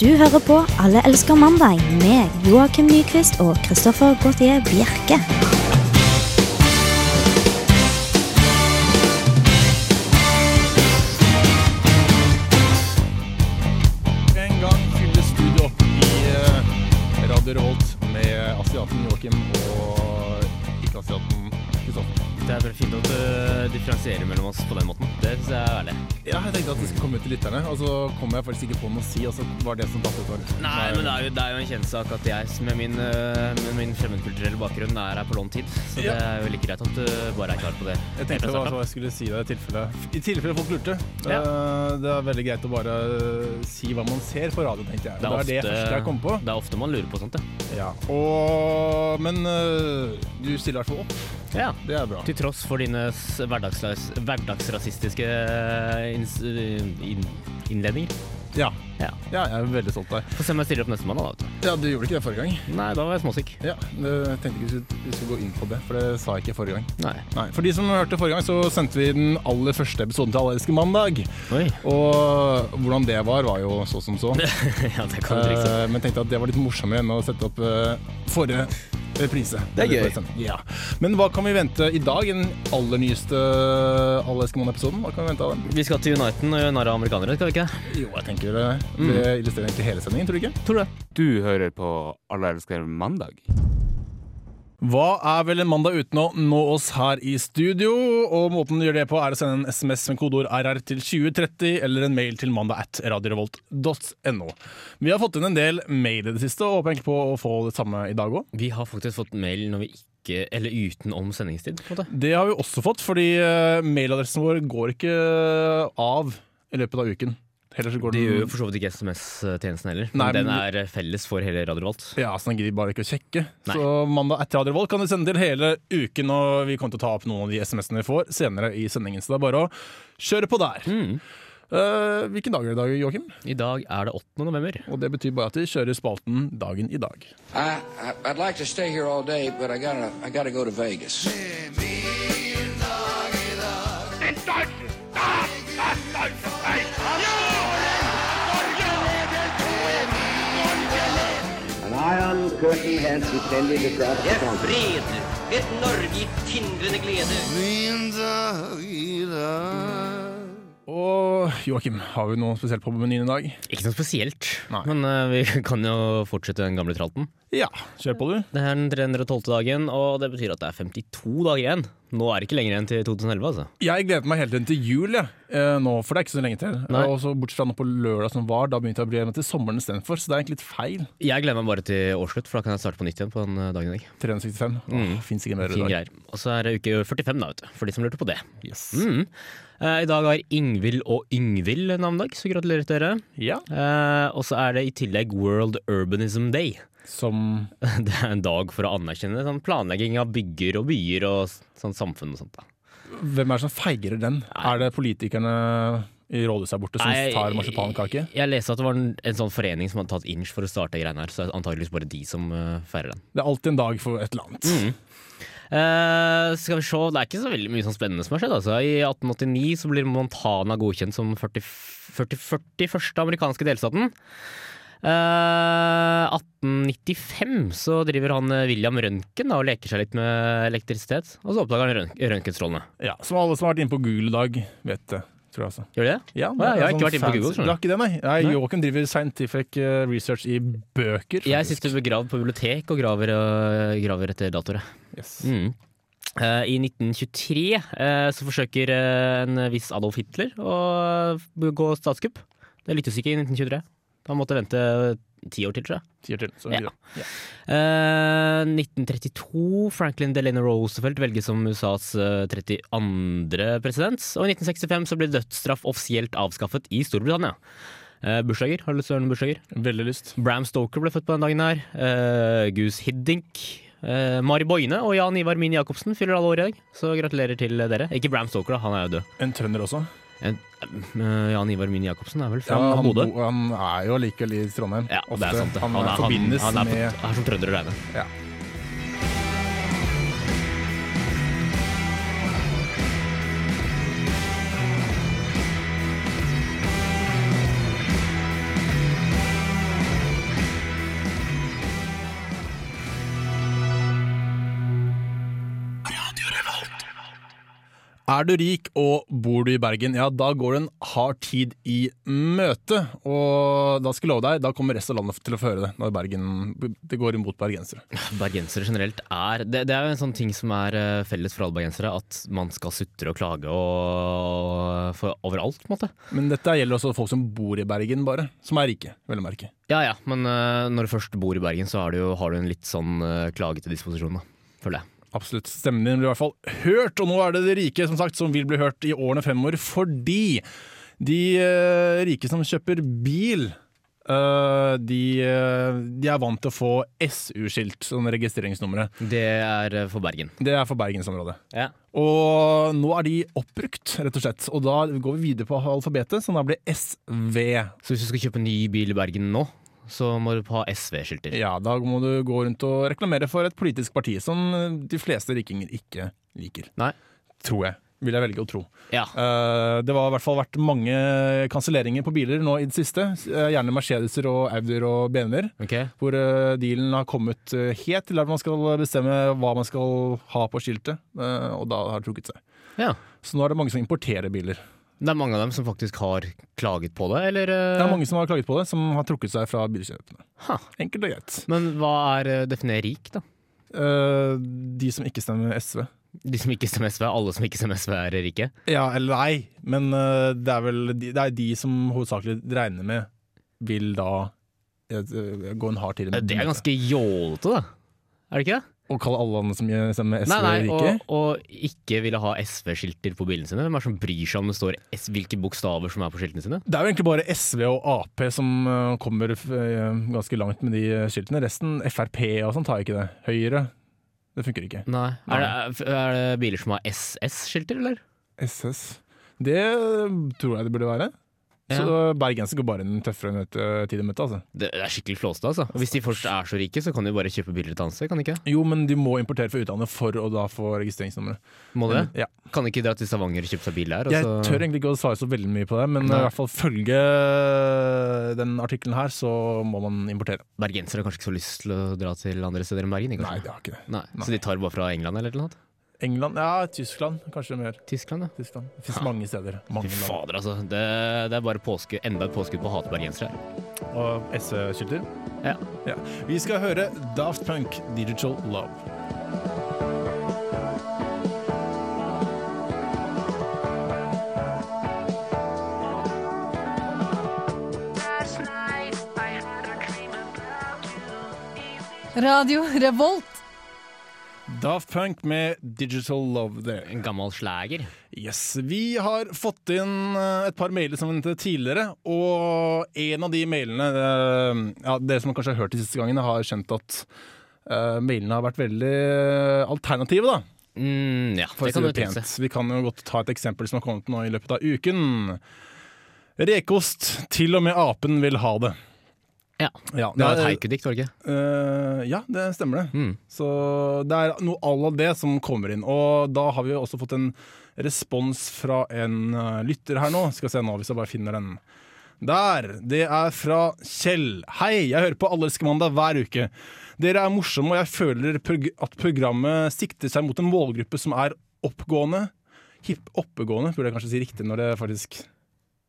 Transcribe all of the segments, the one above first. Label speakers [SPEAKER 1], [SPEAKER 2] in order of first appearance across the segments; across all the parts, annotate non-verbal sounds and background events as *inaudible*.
[SPEAKER 1] Du hører på Alle elsker mandag med Joakim Nyquist og Christoffer Gautier Bjerke.
[SPEAKER 2] En gang fyller studio opp i eh, Radio Revolt med asiaten Joakim og ikke-asiaten Kristoffer.
[SPEAKER 3] Det er veldig fint at du differensierer mellom oss på den måten. Det synes jeg er ærlig.
[SPEAKER 2] Ja, jeg tenkte at det skulle komme ut til lytterne, og så kom jeg faktisk ikke på noe å si, og så var det som datt ut. var-
[SPEAKER 3] Nei, men det er jo, det er jo en kjent sak at jeg som med min, øh, med min fremmedkulturelle bakgrunn er her på lånt tid. Så
[SPEAKER 2] Ja.
[SPEAKER 3] det er jo like greit at du bare er klar på det.
[SPEAKER 2] Jeg tenkte det var sånn- hva jeg skulle si det i tilfelle, i tilfelle folk lurte.
[SPEAKER 3] Ja.
[SPEAKER 2] Eh, Det er veldig greit å bare si hva man ser på radio, tenkte jeg. Det er, det første jeg kom på.
[SPEAKER 3] det er ofte man lurer på sånt, ja.
[SPEAKER 2] Ja. Og, men eh, du stiller i hvert fall opp.
[SPEAKER 3] ja.
[SPEAKER 2] Det er bra.
[SPEAKER 3] Til tross for dine s- hverdagslas- hverdagsrasistiske inns- inn- innledninger.
[SPEAKER 2] Ja.
[SPEAKER 3] Ja.
[SPEAKER 2] ja, jeg er veldig stolt av deg.
[SPEAKER 3] Få se om jeg stiller opp neste mandag, da. vet
[SPEAKER 2] Ja, du gjorde ikke det forrige gang.
[SPEAKER 3] du. Nei, da var jeg småsyk.
[SPEAKER 2] Ja, jeg tenkte ikke vi skulle- vi skulle gå inn på det, for det sa jeg ikke forrige gang.
[SPEAKER 3] Nei.
[SPEAKER 2] Nei, For de som hørte forrige gang, så sendte vi den aller første episoden til Allerske mandag.
[SPEAKER 3] Oi.
[SPEAKER 2] Og hvordan det var, var jo så som så.
[SPEAKER 3] *laughs* ja, *laughs* det kan du trikse.
[SPEAKER 2] Eh, men tenkte at det var litt morsommere enn å sette opp eh, forrige reprise.
[SPEAKER 3] Det er
[SPEAKER 2] Eller
[SPEAKER 3] gøy.
[SPEAKER 2] forrige sending. Ja. Men hva kan vi vente i dag, i den aller nyeste Allerske mandag-episoden? Hva kan vi vente av den?
[SPEAKER 3] Eh, Vi skal til Uniten og gjøre narr av amerikanere, skal vi ikke?
[SPEAKER 2] Jo, jeg tenker det, det illustrerer egentlig hele sendingen, tror du ikke?
[SPEAKER 3] Tror du det?
[SPEAKER 4] Du hører på Alle elsker mandag.
[SPEAKER 2] Hva er vel en mandag uten å nå oss her i studio? Og måten du gjør det på er å sende en SMS med kodeord RR til 2030 eller en mail til mandag at radiorevolt.no. Vi har fått inn en del mail i det siste og håper egentlig på å få det samme i dag òg.
[SPEAKER 3] Vi har faktisk fått mail når vi ikke Eller utenom sendingstid, på en måte.
[SPEAKER 2] Det har vi også fått, fordi eh, mailadressen vår går ikke av i løpet av uken. Heller så går
[SPEAKER 3] Det gjør jo
[SPEAKER 2] den
[SPEAKER 3] for så vidt ikke SMS-tjenesten heller.
[SPEAKER 2] Nei,
[SPEAKER 3] men den
[SPEAKER 2] men-
[SPEAKER 3] er felles for hele Radio Volt.
[SPEAKER 2] ja, så den gidder vi bare ikke å sjekke.
[SPEAKER 3] Nei.
[SPEAKER 2] Så mandag etter Radio Revolt kan du sende til hele uken, og vi kommer til å ta opp noen av de SMS-ene vi får senere i sendingen. Så det er bare å kjøre på der. Eh, hvilken dag er det i dag, Joakim?
[SPEAKER 3] I dag er det 8. november.
[SPEAKER 2] Og det betyr bare at vi kjører spalten dagen i dag.
[SPEAKER 5] I, I I'd like to stay here all day, but I gotta I gotta go to Vegas.
[SPEAKER 6] An iron curtain has descended across the country.
[SPEAKER 7] fred. Et Norge i tindrende glede.
[SPEAKER 2] Og Joakim, har vi noe spesielt på menyen i dag?
[SPEAKER 3] Ikke noe spesielt,
[SPEAKER 2] Nei.
[SPEAKER 3] men eh, vi *laughs* kan jo fortsette den gamle tralten.
[SPEAKER 2] Ja, kjør på, du.
[SPEAKER 3] Det er den 312. dagen, og det betyr at det er 52 dager igjen. Nå er det ikke lenger igjen til 2011, altså.
[SPEAKER 2] Jeg gleder meg hele tiden til jul, jeg. Eh, nå, for det er ikke så lenge til.
[SPEAKER 3] Nei.
[SPEAKER 2] Og så Bortsett fra nå på lørdag som var, da begynte jeg å bli med til sommeren istedenfor. Så det er egentlig litt feil.
[SPEAKER 3] Jeg gleder meg bare til årsslutt, for da kan jeg starte på nytt igjen på den eh, dagen i dag.
[SPEAKER 2] 365. Mm. Fins ikke en bedre
[SPEAKER 3] Fine
[SPEAKER 2] dag.
[SPEAKER 3] greier. Og så er det uke 45, da, vet du. For de som lurte på det.
[SPEAKER 2] Yes.
[SPEAKER 3] Mm. Eh, I dag har Ingvild og Yngvild navnedag, så gratulerer til dere.
[SPEAKER 2] Ja.
[SPEAKER 3] Eh, og så er det i tillegg World Urbanism Day. *laughs*
[SPEAKER 2] Som
[SPEAKER 3] Det er en dag for å anerkjenne sånn planlegging av bygger og byer og s- sånn samfunn og sånt. da.
[SPEAKER 2] Hvem er det som feirer den? Er det politikerne i rådhuset her borte som
[SPEAKER 3] Nei,
[SPEAKER 2] tar marsipankake?
[SPEAKER 3] Jeg leste at det var en, en sånn forening som hadde tatt inch for å starte greiene her, så det er antageligvis bare de som eh, feirer den.
[SPEAKER 2] Det er alltid en dag for et eller annet.
[SPEAKER 3] Mm. Eh, skal vi se, det er ikke så veldig mye sånn spennende som har skjedd. Altså. I 1889 så blir Montana godkjent som 40, 40, 41. amerikanske delstaten. Eh, 1895 så driver han eh, William Røntgen da, og leker seg litt med elektrisitet. Og så oppdager han rønk- røntgenstrålene.
[SPEAKER 2] Ja, Som alle som har vært inne på Google i dag, vet det. Tror jeg altså.
[SPEAKER 3] Gjør de det?
[SPEAKER 2] Ja,
[SPEAKER 3] Å, ja,
[SPEAKER 2] det er
[SPEAKER 3] jeg har ikke
[SPEAKER 2] sånn
[SPEAKER 3] vært inne på
[SPEAKER 2] fancy-
[SPEAKER 3] Google, skjønner
[SPEAKER 2] Du har ikke det, nei? nei. Joakim driver scientific eh, research i bøker.
[SPEAKER 3] Jeg
[SPEAKER 2] faktisk.
[SPEAKER 3] sitter begravd på bibliotek og graver, og graver etter datoer. jeg.
[SPEAKER 2] Yes.
[SPEAKER 3] Mm. Eh, I 1923 eh, så forsøker eh, en viss Adolf Hitler å begå statskupp. Det lyktes ikke i 1923. Han måtte vente ti år til, tror jeg.
[SPEAKER 2] Sier til. Så,
[SPEAKER 3] Ja. Eh, 1932 Franklin Delano Roosevelt velges som USAs eh, 32. president. Og i 1965 så blir dødsstraff offisielt avskaffet i Storbritannia. Eh, bursdager? Har du lyst til å høre noen bursdager?
[SPEAKER 2] Veldig lyst.
[SPEAKER 3] Bram Stoker ble født på den dagen her. Eh, Gus Hiddink. eh, Mari Boine og Jan Ivar Mini Jacobsen fyller alle år i dag, så gratulerer til dere. Ikke Bram Stoker, da, han er jo død.
[SPEAKER 2] En trønder også.
[SPEAKER 3] En- eh, Jan Ivar Mini Jacobsen er vel fra
[SPEAKER 2] Ja, han,
[SPEAKER 3] Bodø?
[SPEAKER 2] bo- han er jo likevel i Trondheim.
[SPEAKER 3] Ja, det
[SPEAKER 2] Ofte.
[SPEAKER 3] er sant. det.
[SPEAKER 2] Han,
[SPEAKER 3] er-
[SPEAKER 2] forbindes
[SPEAKER 3] han, han er,
[SPEAKER 2] med
[SPEAKER 3] er som trønder å regne.
[SPEAKER 2] Ja. Er du rik og bor du i Bergen, ja, da går du en hard tid i møte. Og da skal jeg love deg, da kommer resten av landet til å få høre det når Bergen det går imot bergensere.
[SPEAKER 3] Bergensere generelt er det, det er jo en sånn ting som er eh, felles for alle bergensere, at man skal sutre og klage og for overalt, på en måte.
[SPEAKER 2] Men dette gjelder også folk som bor i Bergen, bare. Som er rike, vel å merke.
[SPEAKER 3] Ja ja, men eh, når du først bor i Bergen, så har du, jo- har du en litt sånn eh, klagete disposisjon, da. Føler jeg.
[SPEAKER 2] Absolutt. Stemmen din blir i hvert fall hørt, og nå er det de rike som sagt som vil bli hørt i årene fremover, fordi de eh, rike som kjøper bil eh, de, eh, de er vant til å få SU-skilt, sånn registreringsnummeret.
[SPEAKER 3] Det er eh, for Bergen.
[SPEAKER 2] Det er for bergensområdet.
[SPEAKER 3] Ja.
[SPEAKER 2] Og nå er de oppbrukt, rett og slett. Og da går vi videre på alfabetet, som da blir SV.
[SPEAKER 3] Så hvis du skal kjøpe ny bil i Bergen nå, så må du ha SV-skilter.
[SPEAKER 2] Ja, da må du gå rundt og reklamere for et politisk parti som de fleste rikinger ikke liker.
[SPEAKER 3] Nei.
[SPEAKER 2] Tror jeg. Vil jeg velge å tro.
[SPEAKER 3] Ja.
[SPEAKER 2] Eh, Det har i hvert fall vært mange kanselleringer på biler nå i det siste. Eh, Gjerne Mercedeser og Audier og BMW-er.
[SPEAKER 3] Ok.
[SPEAKER 2] Hvor eh, dealen har kommet eh, helt til at man skal bestemme hva man skal ha på skiltet. eh, Og da har det trukket seg.
[SPEAKER 3] Ja.
[SPEAKER 2] Så nå er det mange som importerer biler.
[SPEAKER 3] Det er mange av dem som faktisk har klaget på det, eller? eh,
[SPEAKER 2] Det er mange som har klaget på det, som har trukket seg fra bilkjøpene.
[SPEAKER 3] Ha.
[SPEAKER 2] Enkelt og greit.
[SPEAKER 3] Men hva er eh, definer rik, da?
[SPEAKER 2] Eh, de som ikke stemmer SV.
[SPEAKER 3] De som ikke stemmer SV, alle som ikke stemmer SV, er rike?
[SPEAKER 2] Ja, eller nei, men eh, det er vel de, det er de som hovedsakelig regner med vil da eh, gå en hard tid
[SPEAKER 3] Eh, Det er ganske jålete, da. Er det ikke det?
[SPEAKER 2] Å kalle alle andre som stemmer SV,
[SPEAKER 3] nei, nei,
[SPEAKER 2] rike?
[SPEAKER 3] og, og ikke ville ha SV-skilter på bilene sine. Hvem er det som bryr seg om det står S, hvilke bokstaver som er på skiltene sine?
[SPEAKER 2] Det er jo egentlig bare SV og Ap som eh, kommer f- eh, ganske langt med de eh, skiltene. Resten, Frp og sånn, tar ikke det. Høyre, det funker ikke.
[SPEAKER 3] Nei. Er, det, er det biler som har SS-skilter, eller?
[SPEAKER 2] SS. Det eh, tror jeg det burde være. Så bergenser går bare en tøffere møte, tid i møte, altså.
[SPEAKER 3] Det er skikkelig flåsete, altså. Hvis de først er så rike, så kan de jo bare kjøpe biler et annet sted, kan de ikke?
[SPEAKER 2] Jo, men de må importere fra utlandet for å da få registreringsnummeret.
[SPEAKER 3] Må de?
[SPEAKER 2] Ja.
[SPEAKER 3] Kan de ikke dra til Stavanger og kjøpe seg bil der? og
[SPEAKER 2] Jeg
[SPEAKER 3] så-
[SPEAKER 2] tør egentlig ikke å svare så veldig mye på det, men
[SPEAKER 3] Nei.
[SPEAKER 2] i hvert fall følge eh, den artikkelen her, så må man importere.
[SPEAKER 3] Bergensere har kanskje ikke så lyst til å dra til andre steder enn Bergen?
[SPEAKER 2] Nei,
[SPEAKER 3] Kanskje?
[SPEAKER 2] det har ikke det.
[SPEAKER 3] Nei. Så de tar bare fra England eller noe?
[SPEAKER 2] England, ja, Tyskland, kanskje mer.
[SPEAKER 3] Tyskland, ja.
[SPEAKER 2] Tyskland. Det finnes mange steder. Mange
[SPEAKER 3] Fy
[SPEAKER 2] land.
[SPEAKER 3] fader, altså. Det, det er bare påske, enda et påskudd på å hate bergensere.
[SPEAKER 2] Og SV-skilter.
[SPEAKER 3] Ja.
[SPEAKER 2] Ja. Vi skal høre Daft Punk, Digital Love.
[SPEAKER 8] Radio Revolt.
[SPEAKER 2] Daft Punk med Digital Love there.
[SPEAKER 3] En gammel slager.
[SPEAKER 2] Yes, Vi har fått inn eh, et par mailer som ventet tidligere, og en av de mailene eh, ja, Dere som kanskje har hørt de siste gangene, har skjønt at eh, mailene har vært veldig eh, alternative, da.
[SPEAKER 3] Mm, ja,
[SPEAKER 2] For
[SPEAKER 3] det
[SPEAKER 2] å si
[SPEAKER 3] kan du
[SPEAKER 2] det
[SPEAKER 3] tenke
[SPEAKER 2] pent.
[SPEAKER 3] seg.
[SPEAKER 2] Vi kan jo godt ta et eksempel som har kommet nå i løpet av uken. Rekost. Til og med apen vil ha det.
[SPEAKER 3] Ja.
[SPEAKER 2] Ja,
[SPEAKER 3] Det var et
[SPEAKER 2] er-
[SPEAKER 3] haikudikt, var det ikke?
[SPEAKER 2] Eh, ja, det stemmer det.
[SPEAKER 3] Hmm.
[SPEAKER 2] Så det er noe à la det som kommer inn. Og da har vi jo også fått en respons fra en eh, lytter her nå. Skal se nå hvis jeg bare finner den. Der! Det er fra Kjell. Hei, jeg hører på Allerske mandag hver uke. Dere er morsomme, og jeg føler prog at programmet sikter seg mot en målgruppe som er oppgående. Hip oppegående, burde jeg kanskje si riktig når det faktisk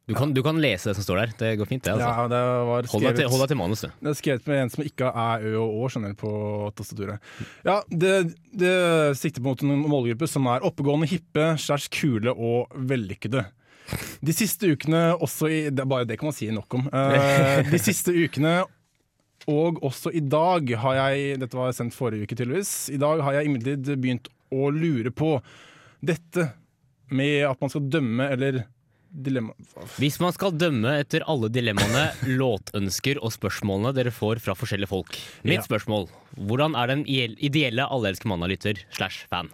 [SPEAKER 3] Du kan, du kan lese det som står der. Det går fint, det. altså.
[SPEAKER 2] Ja, det var
[SPEAKER 3] Hold deg, til,
[SPEAKER 2] skrevet-
[SPEAKER 3] hold deg til manus, du.
[SPEAKER 2] det er skrevet med en som ikke er Ø og Å skjønner du, på tastaturet. Ja, det, det sikter mot en målgruppe som er oppegående, hippe, skjærs kule og vellykkede. De siste ukene også i det, er Bare det kan man si nok om. Eh, de siste ukene og også i dag har jeg Dette var sendt forrige uke, tydeligvis. I dag har jeg imidlertid begynt å lure på dette med at man skal dømme eller dilemma...
[SPEAKER 3] Hvis man skal dømme etter alle dilemmaene, *laughs* låtønsker og spørsmålene dere får fra forskjellige folk Mitt
[SPEAKER 2] Ja.
[SPEAKER 3] spørsmål hvordan er den ideelle- ideelle Allelske mandag-lytter slash fan?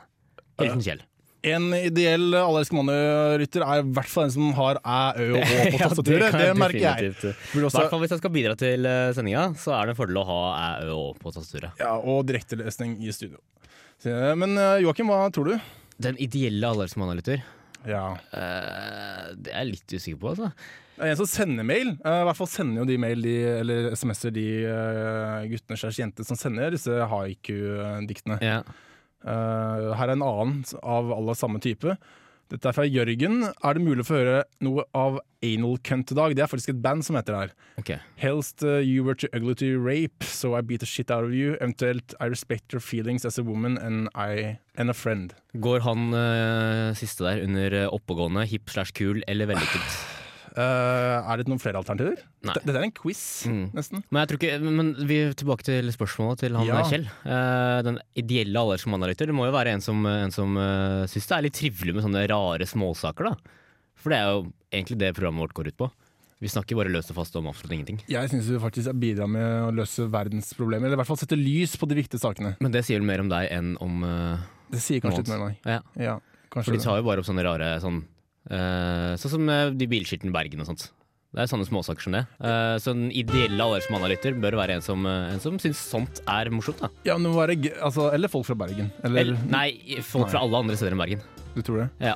[SPEAKER 3] Hilsen
[SPEAKER 2] *laughs*
[SPEAKER 3] Kjell.
[SPEAKER 2] En ideell allerske mannerytter er i hvert fall en som har æ, ø og å på
[SPEAKER 3] *laughs* Ja,
[SPEAKER 2] tastaturet.
[SPEAKER 3] kan
[SPEAKER 2] det,
[SPEAKER 3] jeg
[SPEAKER 2] merker jeg.
[SPEAKER 3] definitivt.
[SPEAKER 2] Burde
[SPEAKER 3] I
[SPEAKER 2] også-
[SPEAKER 3] hvert fall hvis jeg skal bidra til eh, sendinga, så er det en fordel å ha æ, ø og på tastaturet.
[SPEAKER 2] Ja, og direktelesning i studio. Så, eh, Men eh, Joakim, hva tror du?
[SPEAKER 3] Den ideelle allergimannalytter
[SPEAKER 2] Ja.
[SPEAKER 3] Eh, Det er jeg litt usikker på, altså.
[SPEAKER 2] Det er En som sender mail, eh, i hvert fall sender jo de mail, de, eller SMS-er, de eh, guttene slags jenter som sender disse haiku-diktene.
[SPEAKER 3] Ja.
[SPEAKER 2] Eh, her er en annen av alle samme type. Dette er fra Jørgen. Er det mulig å få høre noe av Anal Cunt i dag? Det er faktisk et band som heter det her.
[SPEAKER 3] Ok.
[SPEAKER 2] Helst uh, you were too ugly to rape, so I beat the shit out of you. Eventuelt I respect your feelings as a woman and, I, and a friend.
[SPEAKER 3] Går han eh, siste der under eh, oppegående, hipp slash kul eller vellykket?
[SPEAKER 2] *sighs* Uh, er det noen flere alternativer?
[SPEAKER 3] Nei. Mm.
[SPEAKER 2] Dette, dette er en quiz, nesten.
[SPEAKER 3] Men jeg tror ikke, men vi er tilbake til spørsmålet til han
[SPEAKER 2] Ja.
[SPEAKER 3] eh, Kjell. Eh, den ideelle aldersmannanalyter, det må jo være en som, en som eh, syns det er litt trivelig med sånne rare småsaker, da. For det er jo egentlig det programmet vårt går ut på. Vi snakker bare løst og fast om absolutt ingenting.
[SPEAKER 2] Jeg syns du faktisk bidrar med å løse verdensproblemer, eller i hvert fall sette lys på de viktige sakene.
[SPEAKER 3] Men det sier vel mer om deg enn om eh,
[SPEAKER 2] Det sier kanskje litt mer om meg.
[SPEAKER 3] ja.
[SPEAKER 2] Ja,
[SPEAKER 3] For
[SPEAKER 2] kanskje
[SPEAKER 3] de
[SPEAKER 2] det.
[SPEAKER 3] tar jo bare opp sånne rare sånn eh, Sånn som eh, de bilskiltene i Bergen og sånt. Det er sånne småsaker som det. Eh, så den ideelle aldersmannanalyter bør være en som, eh, en som syns sånt er morsomt, da.
[SPEAKER 2] Ja, men det må være, g- altså, eller folk fra Bergen. Eller,
[SPEAKER 3] Eller, nei, folk fra alle andre steder enn Bergen.
[SPEAKER 2] du tror det?
[SPEAKER 3] Ja.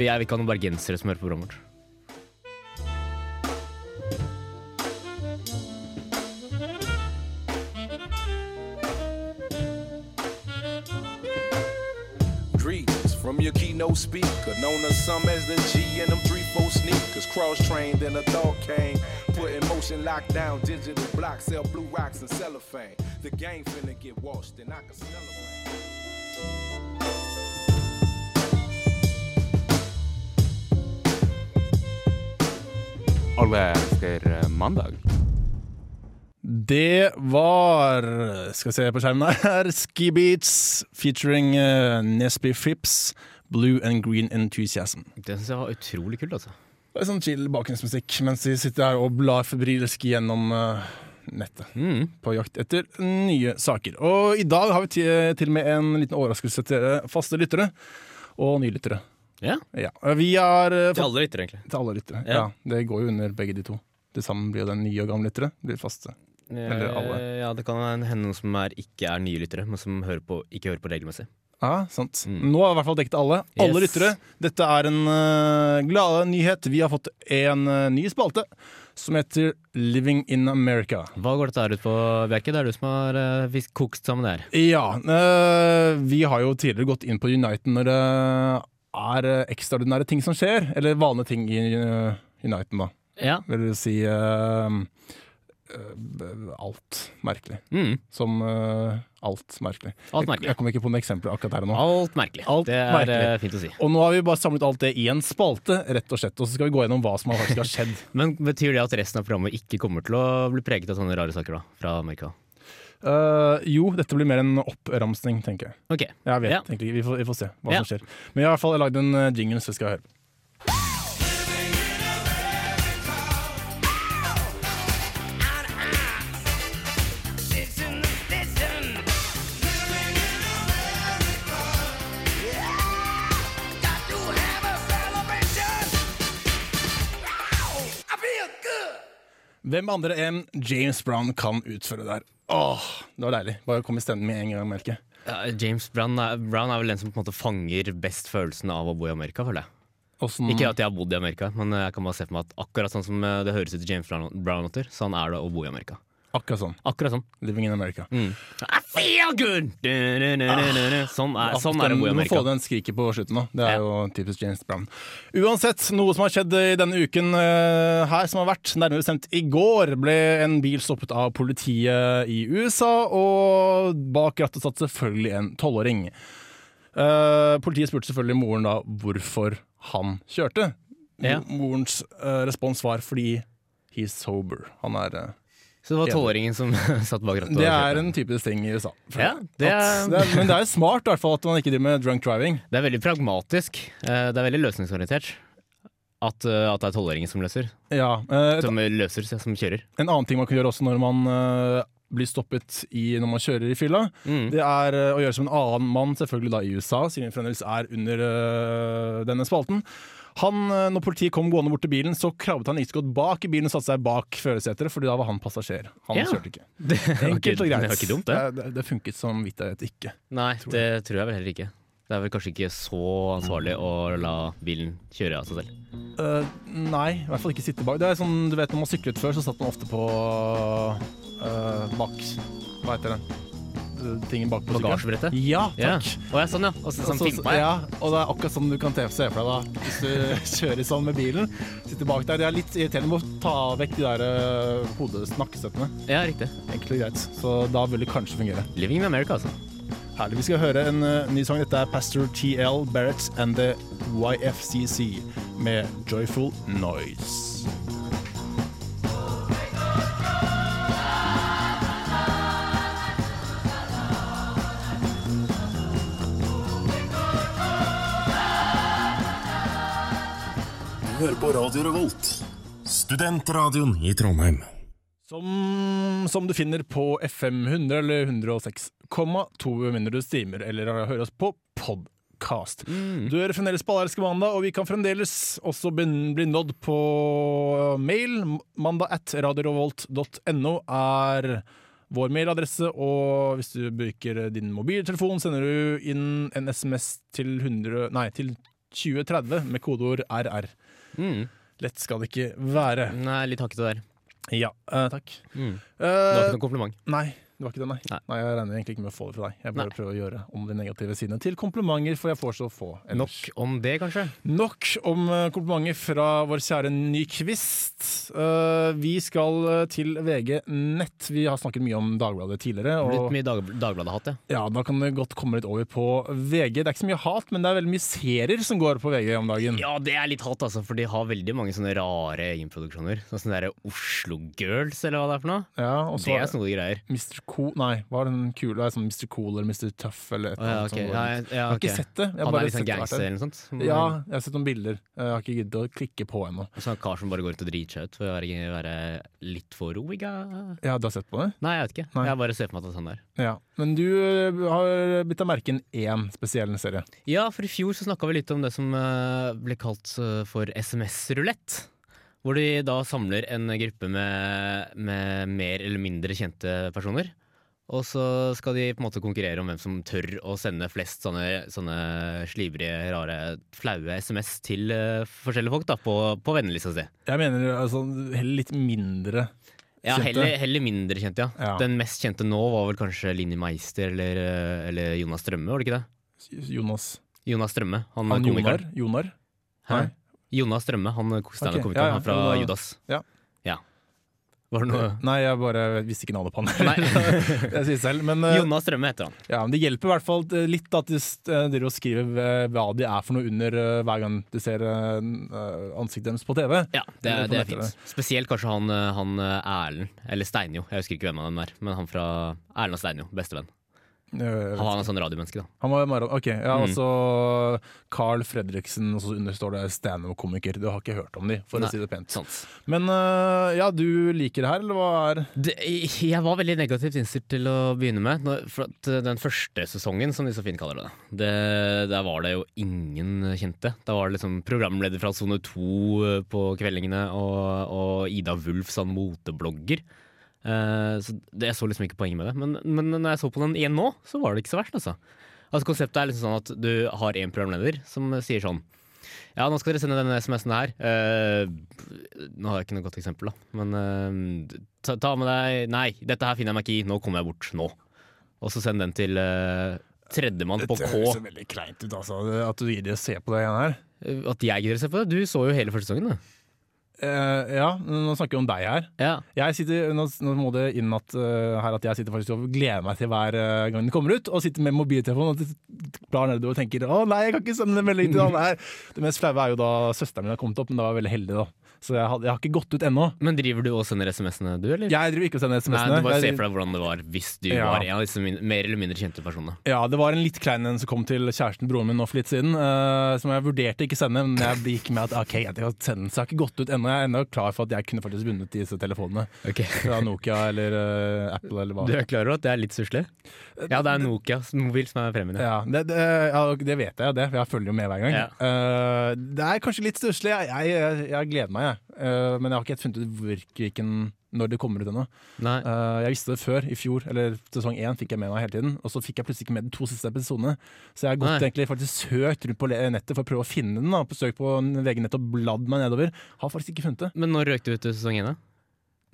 [SPEAKER 3] Vi er ikke noen bergensere som hører på programmet vårt.
[SPEAKER 9] Greetings from your keynote speaker, known as some as the G and them three four sneakers, cross trained in a dog cane, put in motion lockdown, digital block, sell blue rocks and cellophane. The gang finna get washed and I can smell it. rain.
[SPEAKER 4] Alle elsker eh, mandag.
[SPEAKER 2] Det var Skal vi se på skjermen her. *laughs* Ski Beats featuring eh, Nesby Frips, Blue and Green Enthusiasm.
[SPEAKER 3] Det syns jeg var utrolig kult, altså.
[SPEAKER 2] Det er sånn chill bakgrunnsmusikk mens vi sitter her og blar febrilsk gjennom eh, nettet
[SPEAKER 3] Mhm. Mm.
[SPEAKER 2] på jakt etter nye saker. Og i dag har vi ti- til og med en liten overraskelse til dere faste lyttere og nye lyttere.
[SPEAKER 3] Ja,
[SPEAKER 2] Ja. Vi har eh, fått
[SPEAKER 3] alle lyttere, egentlig.
[SPEAKER 2] til alle lyttere.
[SPEAKER 3] Ja.
[SPEAKER 2] Ja. Det går jo under begge de to. Til sammen blir jo den nye og gamle lyttere blir faste. Eller alle.
[SPEAKER 3] Eh, Ja, det kan hende noen som er, ikke er nye lyttere, men som hører på, ikke hører på regelmessig.
[SPEAKER 2] Ja, sant. Nå har vi i hvert fall dekket alle. Alle
[SPEAKER 3] Mm. Yes.
[SPEAKER 2] lyttere. Dette er en eh, glade nyhet. Vi har fått en eh, ny spalte som heter Living in America.
[SPEAKER 3] Hva går dette her ut på, Bjerke? Det er du som har eh, fisk- kokt sammen det her.
[SPEAKER 2] Ja, eh, vi har jo tidligere gått inn på Uniten når det er eh, ekstraordinære ting som skjer. Eller vanlige ting i eh, Uniten, da.
[SPEAKER 3] Ja.
[SPEAKER 2] Vil du si eh, eh, alt merkelig.
[SPEAKER 3] Mm.
[SPEAKER 2] Som eh, alt merkelig.
[SPEAKER 3] Alt
[SPEAKER 2] Jeg,
[SPEAKER 3] merkelig.
[SPEAKER 2] jeg kommer ikke på noen eksempler akkurat her og nå.
[SPEAKER 3] Alt merkelig.
[SPEAKER 2] Alt
[SPEAKER 3] det er
[SPEAKER 2] merkelig.
[SPEAKER 3] eh, fint å si.
[SPEAKER 2] Og nå har vi bare samlet alt det i en spalte, rett og slett. Og så skal vi gå gjennom hva som faktisk har skjedd.
[SPEAKER 3] Men betyr det at resten av programmet ikke kommer til å bli preget av sånne rare saker da, fra Amerika?
[SPEAKER 2] *laughs* Eh, jo, dette blir mer en oppramsning, tenker jeg.
[SPEAKER 3] Ok.
[SPEAKER 2] Jeg vet
[SPEAKER 3] Ja.
[SPEAKER 2] egentlig ikke. Vi får, vi får se hva
[SPEAKER 3] Ja.
[SPEAKER 2] som skjer. Men jeg har i hvert fall lagd en eh, jingle, så vi skal høre. Hvem andre enn James Brown kan utføre det her? Åh, det var deilig. Bare kom i stemmen med en gang, merker jeg.
[SPEAKER 3] Ja, James Brown er, Brown er vel den som på en måte fanger best følelsen av å bo i Amerika, føler jeg.
[SPEAKER 2] Åssen-
[SPEAKER 3] Ikke at jeg har bodd i Amerika, men eh, jeg kan bare se for meg at akkurat sånn som eh, det høres ut til James Brown- Brown-låter, sånn er det å bo i Amerika.
[SPEAKER 2] Akkurat sånn.
[SPEAKER 3] Akkurat sånn. Ah,
[SPEAKER 2] Living in America.
[SPEAKER 3] I feel good! Du-du-du-du-du-du. Sånn er, sånn er det å bo i
[SPEAKER 2] Du må få
[SPEAKER 3] Amerika.
[SPEAKER 2] den skriket på slutten nå. Det er
[SPEAKER 3] Ja.
[SPEAKER 2] jo typisk James Brown. Uansett, noe som har skjedd i denne uken eh, her, som har vært nærmere bestemt i går, ble en bil stoppet av politiet i USA, og bak rattet satt selvfølgelig en tolvåring. Eh, Politiet spurte selvfølgelig moren da hvorfor han kjørte.
[SPEAKER 3] Ja.
[SPEAKER 2] Mo- Morens eh, respons var fordi he's sober. Han er eh,
[SPEAKER 3] Så det var tolvåringen som *laughs* satt bak rattet. og
[SPEAKER 2] Det
[SPEAKER 3] kjørte.
[SPEAKER 2] er en typisk ting i USA.
[SPEAKER 3] Ja, det
[SPEAKER 2] At-
[SPEAKER 3] er-
[SPEAKER 2] det er, men det er smart i hvert fall at man ikke driver med drunk driving.
[SPEAKER 3] Det er veldig pragmatisk. eh, Det er veldig løsningsorientert. At, eh, at det er tolvåringen som løser.
[SPEAKER 2] Ja, eh, et,
[SPEAKER 3] Som løser, som kjører.
[SPEAKER 2] En annen ting man kan gjøre også når man eh, blir stoppet i, når man kjører i fylla,
[SPEAKER 3] Mm.
[SPEAKER 2] det er eh, å gjøre som en annen mann, selvfølgelig da i USA, siden vi fremdeles er under eh, denne spalten. Han, eh, når politiet kom gående bort til bilen, så krabbet han ikke så godt bak i bilen og satte seg bak førersetet, fordi da var han passasjer. Han
[SPEAKER 3] Ja.
[SPEAKER 2] kjørte ikke.
[SPEAKER 3] *laughs* Det var ikke-
[SPEAKER 2] Enkelt og greit.
[SPEAKER 3] Det var ikke dumt, det.
[SPEAKER 2] Eh, det, det funket som vittighet ikke.
[SPEAKER 3] Nei, det tror jeg vel heller ikke. Det er vel kanskje ikke så ansvarlig å la bilen kjøre av seg selv.
[SPEAKER 2] Eh, nei, i hvert fall ikke sitte bak. Det er sånn, du vet, Når man syklet før, så satt man ofte på eh, bak Hva heter det? eh, tingen bak på
[SPEAKER 3] Bagasjebrettet?
[SPEAKER 2] Ja,
[SPEAKER 3] Ja.
[SPEAKER 2] takk.
[SPEAKER 3] Å ja, sånn ja. Og så, sånn,
[SPEAKER 2] Altså,
[SPEAKER 3] filme meg.
[SPEAKER 2] ja, og det er akkurat sånn du kan te- se for deg da, hvis du *laughs* kjører sånn med bilen. Sitter bak der. Det er litt irriterende med å ta vekk de der eh, hodesnakksettene.
[SPEAKER 3] ja, riktig.
[SPEAKER 2] Enkelt og greit. Så da vil det kanskje fungere.
[SPEAKER 3] Living in America, altså.
[SPEAKER 2] Herlig. Vi skal høre en eh, ny sang. Dette er Pastor TL Barrett and the YFCC med Joyful Noise.
[SPEAKER 10] Hør på Radio Revolt, studentradioen i Trondheim.
[SPEAKER 2] Som, som du finner på FM 100 eller 106,2 minutters timer, eller hører oss på podkast. Du hører fremdeles på Allerske mandag, og vi kan fremdeles også ben- bli nådd på mail. Mandag at radiorevolt.no er vår mailadresse, og hvis du bruker din mobiltelefon, sender du inn en SMS til, 100, nei, til 2030 med kodeord RR.
[SPEAKER 3] Mm.
[SPEAKER 2] Lett skal det ikke være.
[SPEAKER 3] Nei, litt hakkete der.
[SPEAKER 2] Ja, eh, takk.
[SPEAKER 3] Mm. Det var
[SPEAKER 2] Eh,
[SPEAKER 3] ikke noen kompliment.
[SPEAKER 2] Nei, det var ikke det, nei. nei.
[SPEAKER 3] Nei.
[SPEAKER 2] jeg regner egentlig ikke med å få det fra deg. Jeg bare
[SPEAKER 3] Nei.
[SPEAKER 2] prøver å gjøre om de negative sidene til komplimenter, for jeg får så få.
[SPEAKER 3] Eh, Nok
[SPEAKER 2] ellers.
[SPEAKER 3] om det, kanskje?
[SPEAKER 2] Nok om eh, komplimenter fra vår kjære Nyquist. Eh, vi skal eh, til VG Nett. Vi har snakket mye om Dagbladet tidligere.
[SPEAKER 3] Det har
[SPEAKER 2] Og
[SPEAKER 3] Blitt mye dag Dagbladet-hat, ja.
[SPEAKER 2] ja, da kan det godt komme litt over på VG. Det er ikke så mye hat, men det er veldig mye serier som går på VG om dagen.
[SPEAKER 3] Ja, det er litt hat, altså, for de har veldig mange sånne rare egenproduksjoner. Sånn som der Oslo Girls, eller hva det er for noe.
[SPEAKER 2] Ja, og så
[SPEAKER 3] Det er sånn- snodige greier.
[SPEAKER 2] Mr. Cool Nei, hva er den kule? Er det sånn Mr. Cool eller Mr. Tøff eller et
[SPEAKER 3] Å, ja,
[SPEAKER 2] eller annet?
[SPEAKER 3] ok.
[SPEAKER 2] som går
[SPEAKER 3] Ja,
[SPEAKER 2] rundt.
[SPEAKER 3] ja, ja,
[SPEAKER 2] Jeg har
[SPEAKER 3] ok.
[SPEAKER 2] ikke sett det. Jeg har
[SPEAKER 3] Han
[SPEAKER 2] bare
[SPEAKER 3] er litt
[SPEAKER 2] sett
[SPEAKER 3] sånn
[SPEAKER 2] det hvert
[SPEAKER 3] gangster
[SPEAKER 2] en-
[SPEAKER 3] eller noe sånt.
[SPEAKER 2] Ja, jeg har sett noen bilder. Jeg har ikke giddet å klikke på ennå.
[SPEAKER 3] Sånn kar som bare går rundt og driter seg ut for å være- være litt for roiga.
[SPEAKER 2] Ja, du har sett på det?
[SPEAKER 3] Nei, jeg vet ikke.
[SPEAKER 2] Nei.
[SPEAKER 3] Jeg bare ser for meg at det er sånn der.
[SPEAKER 2] Ja. Men du eh, har bitt av merke en én spesiell serie.
[SPEAKER 3] Ja, for i fjor så snakka vi litt om det som eh, ble kalt eh, for SMS-rulett. Hvor de da samler en gruppe med, med mer eller mindre kjente personer. Og så skal de på en måte konkurrere om hvem som tør å sende flest sånne, sånne slibrige, rare, flaue SMS til eh, forskjellige folk da, på, på vennelista si.
[SPEAKER 2] Jeg mener altså heller litt mindre.
[SPEAKER 3] Ja,
[SPEAKER 2] Kjente.
[SPEAKER 3] heller, heller mindre kjent, ja.
[SPEAKER 2] Ja.
[SPEAKER 3] Den mest kjente nå var vel kanskje Linni Meister eller, eh, eller Jonas Strømme, var det ikke det?
[SPEAKER 2] Jonas.
[SPEAKER 3] Jonas Strømme, han,
[SPEAKER 2] Han
[SPEAKER 3] komikeren.
[SPEAKER 2] Jonar? Jonar?
[SPEAKER 3] Hæ?
[SPEAKER 2] Nei.
[SPEAKER 3] Jonas Strømme, han
[SPEAKER 2] Ok,
[SPEAKER 3] standup-komikeren
[SPEAKER 2] ja, ja,
[SPEAKER 3] han fra
[SPEAKER 2] jo da-
[SPEAKER 3] Judas.
[SPEAKER 2] ja.
[SPEAKER 3] Ja. Var det
[SPEAKER 2] *laughs*
[SPEAKER 3] noe
[SPEAKER 2] Nei, jeg bare visste ikke navnet på han.
[SPEAKER 3] Nei.
[SPEAKER 2] *laughs* jeg sier selv. Men, eh,
[SPEAKER 3] *laughs* Jonas Strømme heter han.
[SPEAKER 2] ja, men det hjelper i hvert fall litt at de s- eh, driver og skriver eh, hva de er for noe under eh, hver gang du ser eh, n- eh, ansiktet deres på TV.
[SPEAKER 3] Ja, det,
[SPEAKER 2] Eller
[SPEAKER 3] er-
[SPEAKER 2] på
[SPEAKER 3] det er
[SPEAKER 2] nettet,
[SPEAKER 3] fint. Spesielt kanskje han, eh, han eh, Erlend, eller Steinjo, jeg husker ikke hvem av dem er. Men han fra Erlend og Steinjo, bestevenn.
[SPEAKER 2] Eh,
[SPEAKER 3] Han var en sånn radiomenneske, da.
[SPEAKER 2] Han var i Maradona. Ok, ja,
[SPEAKER 3] Mm.
[SPEAKER 2] og så Carl Fredriksen, og så understår det standup-komiker. Du har ikke hørt om de, for
[SPEAKER 3] Nei.
[SPEAKER 2] å si det pent.
[SPEAKER 3] Sant.
[SPEAKER 2] Men øh, ja, du liker det her, eller hva er
[SPEAKER 3] Det, jeg var veldig negativt innstilt til å begynne med. når- For at eh, den første sesongen, som de så fint kaller det, det der var det jo ingen kjente. Da var det liksom programleder fra Sone 2 på kveldingene, og, og Ida Wulf, sånn moteblogger. Eh, så det, jeg så liksom ikke poenget med det. Men, men når jeg så på den igjen nå, så var det ikke så verst, altså. Altså Konseptet er liksom sånn at du har én programleder som sier sånn ja, nå skal dere sende denne SMS-en her. Eh, nå har jeg ikke noe godt eksempel, da. Men eh, ta, ta med deg Nei, dette her finner jeg meg ikke i. Nå kommer jeg bort. Nå. Og så send den til eh, tredjemann på K.
[SPEAKER 2] veldig kleint ut, altså. At du gidder å se på det igjen her.
[SPEAKER 3] Eh, At jeg gidder å se på det? Du så jo hele første sesongen, du.
[SPEAKER 2] Eh, ja, nå snakker vi om deg her.
[SPEAKER 3] Ja.
[SPEAKER 2] Jeg sitter, nå, nå må det inn at, øh, her at jeg sitter faktisk og gleder meg til hver øh, gang den kommer ut, og sitter med mobiltelefonen og t- blar nedover og tenker 'Å nei, jeg kan ikke sende en melding til han her'. Det mest flaue er jo da søsteren min har kommet opp, men da var jeg veldig heldig, da. Så jeg, hadde, jeg har ikke gått ut ennå.
[SPEAKER 3] Men driver du og sender SMS-ene, du, eller?
[SPEAKER 2] Jeg driver ikke og sender
[SPEAKER 3] Nei,
[SPEAKER 2] SMS-ene.
[SPEAKER 3] du bare ser
[SPEAKER 2] Jeg-
[SPEAKER 3] for deg hvordan det var hvis du
[SPEAKER 2] Ja.
[SPEAKER 3] var en av disse min, mer eller mindre kjente personene.
[SPEAKER 2] Ja, det var en litt klein en som kom til kjæresten broren min nå for litt siden, eh, som jeg vurderte ikke sende, men jeg gikk med at ok, jeg skal sende den, så jeg har ikke gått ut ennå. Jeg er ennå klar for at jeg kunne faktisk vunnet disse telefonene fra Nokia eller eh, Apple eller hva.
[SPEAKER 3] Du er klar over at det er litt stusslig? Ja, det er Nokia mobil som er premien.
[SPEAKER 2] Ja, det, det, ja, det vet jeg, det, for jeg følger jo med hver gang. Eh, det er kanskje litt stusslig. Jeg, jeg, jeg gleder meg, jeg. Eh, men jeg har ikke helt funnet ut hvor- hvilken når det kommer ut ennå.
[SPEAKER 3] Nei.
[SPEAKER 2] Eh, jeg visste det før, i fjor, eller sesong én fikk jeg med meg hele tiden. Og så fikk jeg plutselig ikke med de to siste episodene. Så jeg har gått
[SPEAKER 3] Nei.
[SPEAKER 2] egentlig faktisk søkt rundt på le- nettet for å prøve å finne den. Da. På søk på VG-nett og bladd meg nedover. Har faktisk ikke funnet det.
[SPEAKER 3] Men når røk du ut i sesong én, da?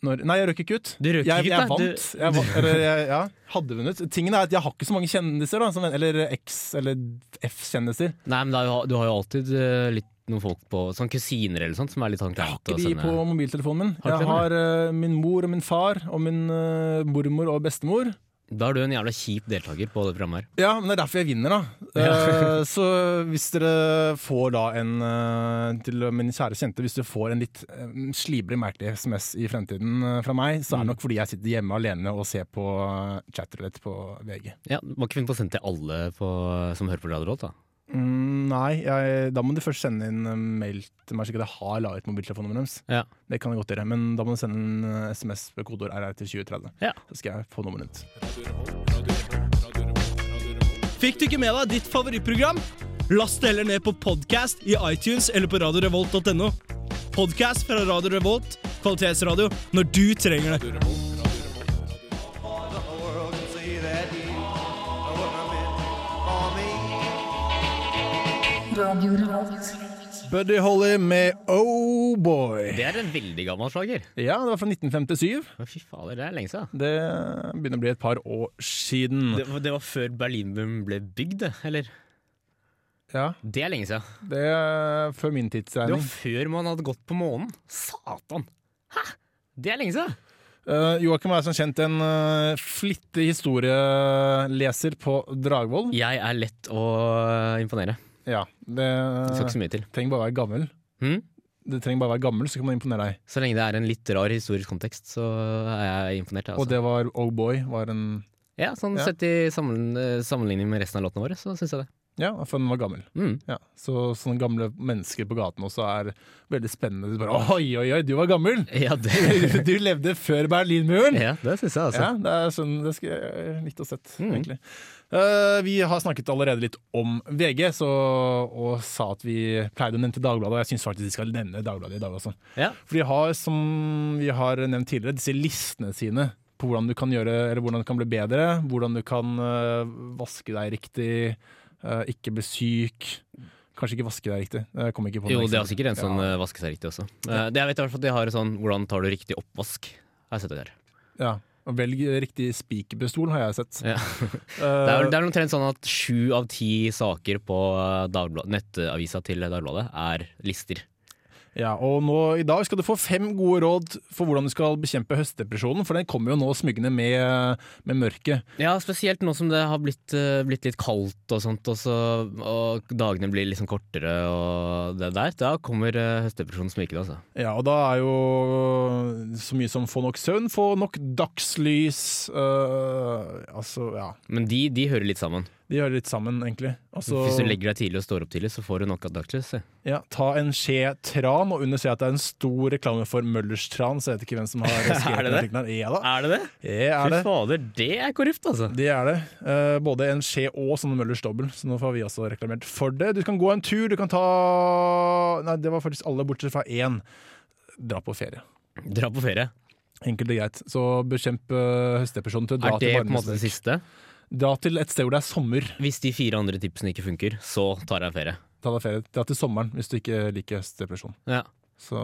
[SPEAKER 2] når Nei, jeg røk ikke ut.
[SPEAKER 3] Du røk ikke
[SPEAKER 2] jeg,
[SPEAKER 3] ut,
[SPEAKER 2] jeg
[SPEAKER 3] da.
[SPEAKER 2] vant.
[SPEAKER 3] Du-
[SPEAKER 2] Jeg,
[SPEAKER 3] *laughs*
[SPEAKER 2] vant- eller, jeg ja, hadde vunnet. Tingen er at jeg har ikke så mange kjendiser, da, som, eller X- eller F-kjendiser.
[SPEAKER 3] Nei, men da, du har jo alltid eh, litt noen folk på Sånn kusiner eller sånt som er litt sånn
[SPEAKER 2] Jeg har
[SPEAKER 3] kleint
[SPEAKER 2] ikke
[SPEAKER 3] å
[SPEAKER 2] de
[SPEAKER 3] sende-
[SPEAKER 2] på mobiltelefonen min.
[SPEAKER 3] Har du ikke
[SPEAKER 2] jeg har eh, min mor og min far og min eh, mormor og bestemor.
[SPEAKER 3] Da er du en jævla kjip deltaker på det programmet her.
[SPEAKER 2] Ja, men det er derfor jeg vinner, da. Eh, så hvis dere får da en eh, til min kjære kjente, hvis du får en litt eh, slibrig, merkelig SMS i fremtiden eh, fra meg, så er det nok fordi jeg sitter hjemme alene og ser på eh, chatroulette på VG.
[SPEAKER 3] Ja, du Må ikke finne på å sende til alle på, som hører på Radio Rolt, da.
[SPEAKER 2] Mm, nei, jeg, da må du først sende inn eh, mail til meg, slik at jeg har lagret mobiltelefonnummeret deres.
[SPEAKER 3] Ja.
[SPEAKER 2] Det kan jeg godt gjøre, men da må du sende en eh, SMS med kodeord RR til 2030.
[SPEAKER 3] Ja.
[SPEAKER 2] Så skal jeg få nummeret ditt.
[SPEAKER 11] Fikk du ikke med deg ditt favorittprogram? Last det heller ned på podcast i iTunes eller på radiorevolt.no. Podcast fra Radio Revolt, kvalitetsradio, når du trenger det.
[SPEAKER 8] Radio Revolt.
[SPEAKER 2] Buddy Holly med Oh Boy.
[SPEAKER 3] Det er en veldig gammel slager.
[SPEAKER 2] Ja, det var fra 1957.
[SPEAKER 3] Å, Fy fader, det er lenge siden.
[SPEAKER 2] Det begynner å bli et par år siden.
[SPEAKER 3] Det, var- det var før Berlinmuren ble bygd, det, eller?
[SPEAKER 2] Ja,
[SPEAKER 3] Det er lenge siden.
[SPEAKER 2] det er før min
[SPEAKER 3] Det var
[SPEAKER 2] tidsregning.
[SPEAKER 3] før man hadde gått på månen. Satan! Hæ? Det er lenge siden!
[SPEAKER 2] Uh, Joakim er som kjent en eh, flittig historieleser på Dragvoll.
[SPEAKER 3] Jeg er lett å imponere.
[SPEAKER 2] Ja, det
[SPEAKER 3] Det skal ikke så mye til.
[SPEAKER 2] trenger bare å være gammel.
[SPEAKER 3] Hm?
[SPEAKER 2] Du trenger bare å være gammel, så kan man imponere deg.
[SPEAKER 3] Så lenge det er en litt rar historisk kontekst, så er jeg imponert. jeg,
[SPEAKER 2] Og
[SPEAKER 3] Altså.
[SPEAKER 2] det var Oh Boy, var en
[SPEAKER 3] Ja, sånn
[SPEAKER 2] Ja.
[SPEAKER 3] Sett i sammen, eh, sammenligning med resten av låtene våre, så syns jeg det.
[SPEAKER 2] Ja, for den var gammel.
[SPEAKER 3] Mm.
[SPEAKER 2] Ja. Så sånne gamle mennesker på gaten også er veldig spennende. Du bare Oi, oi, oi, du var gammel! *laughs*
[SPEAKER 3] Ja, det,
[SPEAKER 2] Du levde før Berlinmuren!
[SPEAKER 3] ja, det syns jeg, altså.
[SPEAKER 2] Ja, det er sånn det skulle jeg likt å sett,
[SPEAKER 3] Mm.
[SPEAKER 2] egentlig. Eh, vi har snakket allerede litt om VG, så, og sa at vi pleide å nevne Dagbladet. Og jeg syns faktisk de skal nevne Dagbladet i dag også.
[SPEAKER 3] Ja.
[SPEAKER 2] For de har, som vi har nevnt tidligere, disse listene sine på hvordan du kan gjøre, eller hvordan du kan bli bedre. Hvordan du kan eh, vaske deg riktig, eh, ikke bli syk. Kanskje ikke vaske deg riktig. Jeg kom ikke på noe
[SPEAKER 3] Jo,
[SPEAKER 2] eksempel.
[SPEAKER 3] det er sikkert en som
[SPEAKER 2] Ja.
[SPEAKER 3] eh, vasker seg riktig også. Eh, Det jeg vet i hvert fall at de har en sånn 'hvordan tar du riktig oppvask'? Jeg har sett det der.
[SPEAKER 2] Eh. Ja. Og velg riktig spikerpistol, har jeg sett.
[SPEAKER 3] Ja.
[SPEAKER 2] *laughs* Eh,
[SPEAKER 3] Det er, det er omtrent sånn at sju av ti saker på eh, Dagblad- nettavisa til Dagbladet er lister.
[SPEAKER 2] Ja, og nå i dag skal du få fem gode råd for hvordan du skal bekjempe høstdepresjonen, for den kommer jo nå smygende med, med mørket.
[SPEAKER 3] Ja, spesielt nå som det har blitt, eh, blitt litt kaldt og sånt, og, så, og dagene blir liksom kortere og det der. Da kommer eh, høstdepresjonen smykende, altså.
[SPEAKER 2] Ja, og da er jo så mye som få nok søvn, få nok dagslys øh, Altså, ja.
[SPEAKER 3] Men de, de hører litt sammen.
[SPEAKER 2] De hører litt sammen, egentlig. Altså,
[SPEAKER 3] Hvis du legger deg tidlig og står opp tidlig, så får du nok av dagslys. se.
[SPEAKER 2] ja, ta en skje tran, og under ser jeg at det er en stor reklame for Møllers tran, så jeg vet ikke hvem som har skrevet
[SPEAKER 3] *laughs* Er det
[SPEAKER 2] den
[SPEAKER 3] det?
[SPEAKER 2] artikkelen her. Ja da,
[SPEAKER 3] Er det det?
[SPEAKER 2] det er
[SPEAKER 3] Fy
[SPEAKER 2] det.
[SPEAKER 3] fader, det er korrupt, altså.
[SPEAKER 2] Det er det. Eh, både en skje og sånn Møllers dobbel, så nå får vi også reklamert for det. Du kan gå en tur, du kan ta Nei, det var faktisk alle bortsett fra én. Dra på ferie.
[SPEAKER 3] Dra på ferie.
[SPEAKER 2] Enkelt og greit. Så bekjemp eh, høstdepresjonen til å dra
[SPEAKER 3] Er det
[SPEAKER 2] til
[SPEAKER 3] på en måte det
[SPEAKER 2] varmestrøk.
[SPEAKER 3] siste?
[SPEAKER 2] Dra til et sted hvor det er sommer.
[SPEAKER 3] Hvis de fire andre tipsene ikke funker, så tar jeg ferie.
[SPEAKER 2] Ta deg ferie. Dra til sommeren hvis du ikke liker høstdepresjon.
[SPEAKER 3] Ja.
[SPEAKER 2] Så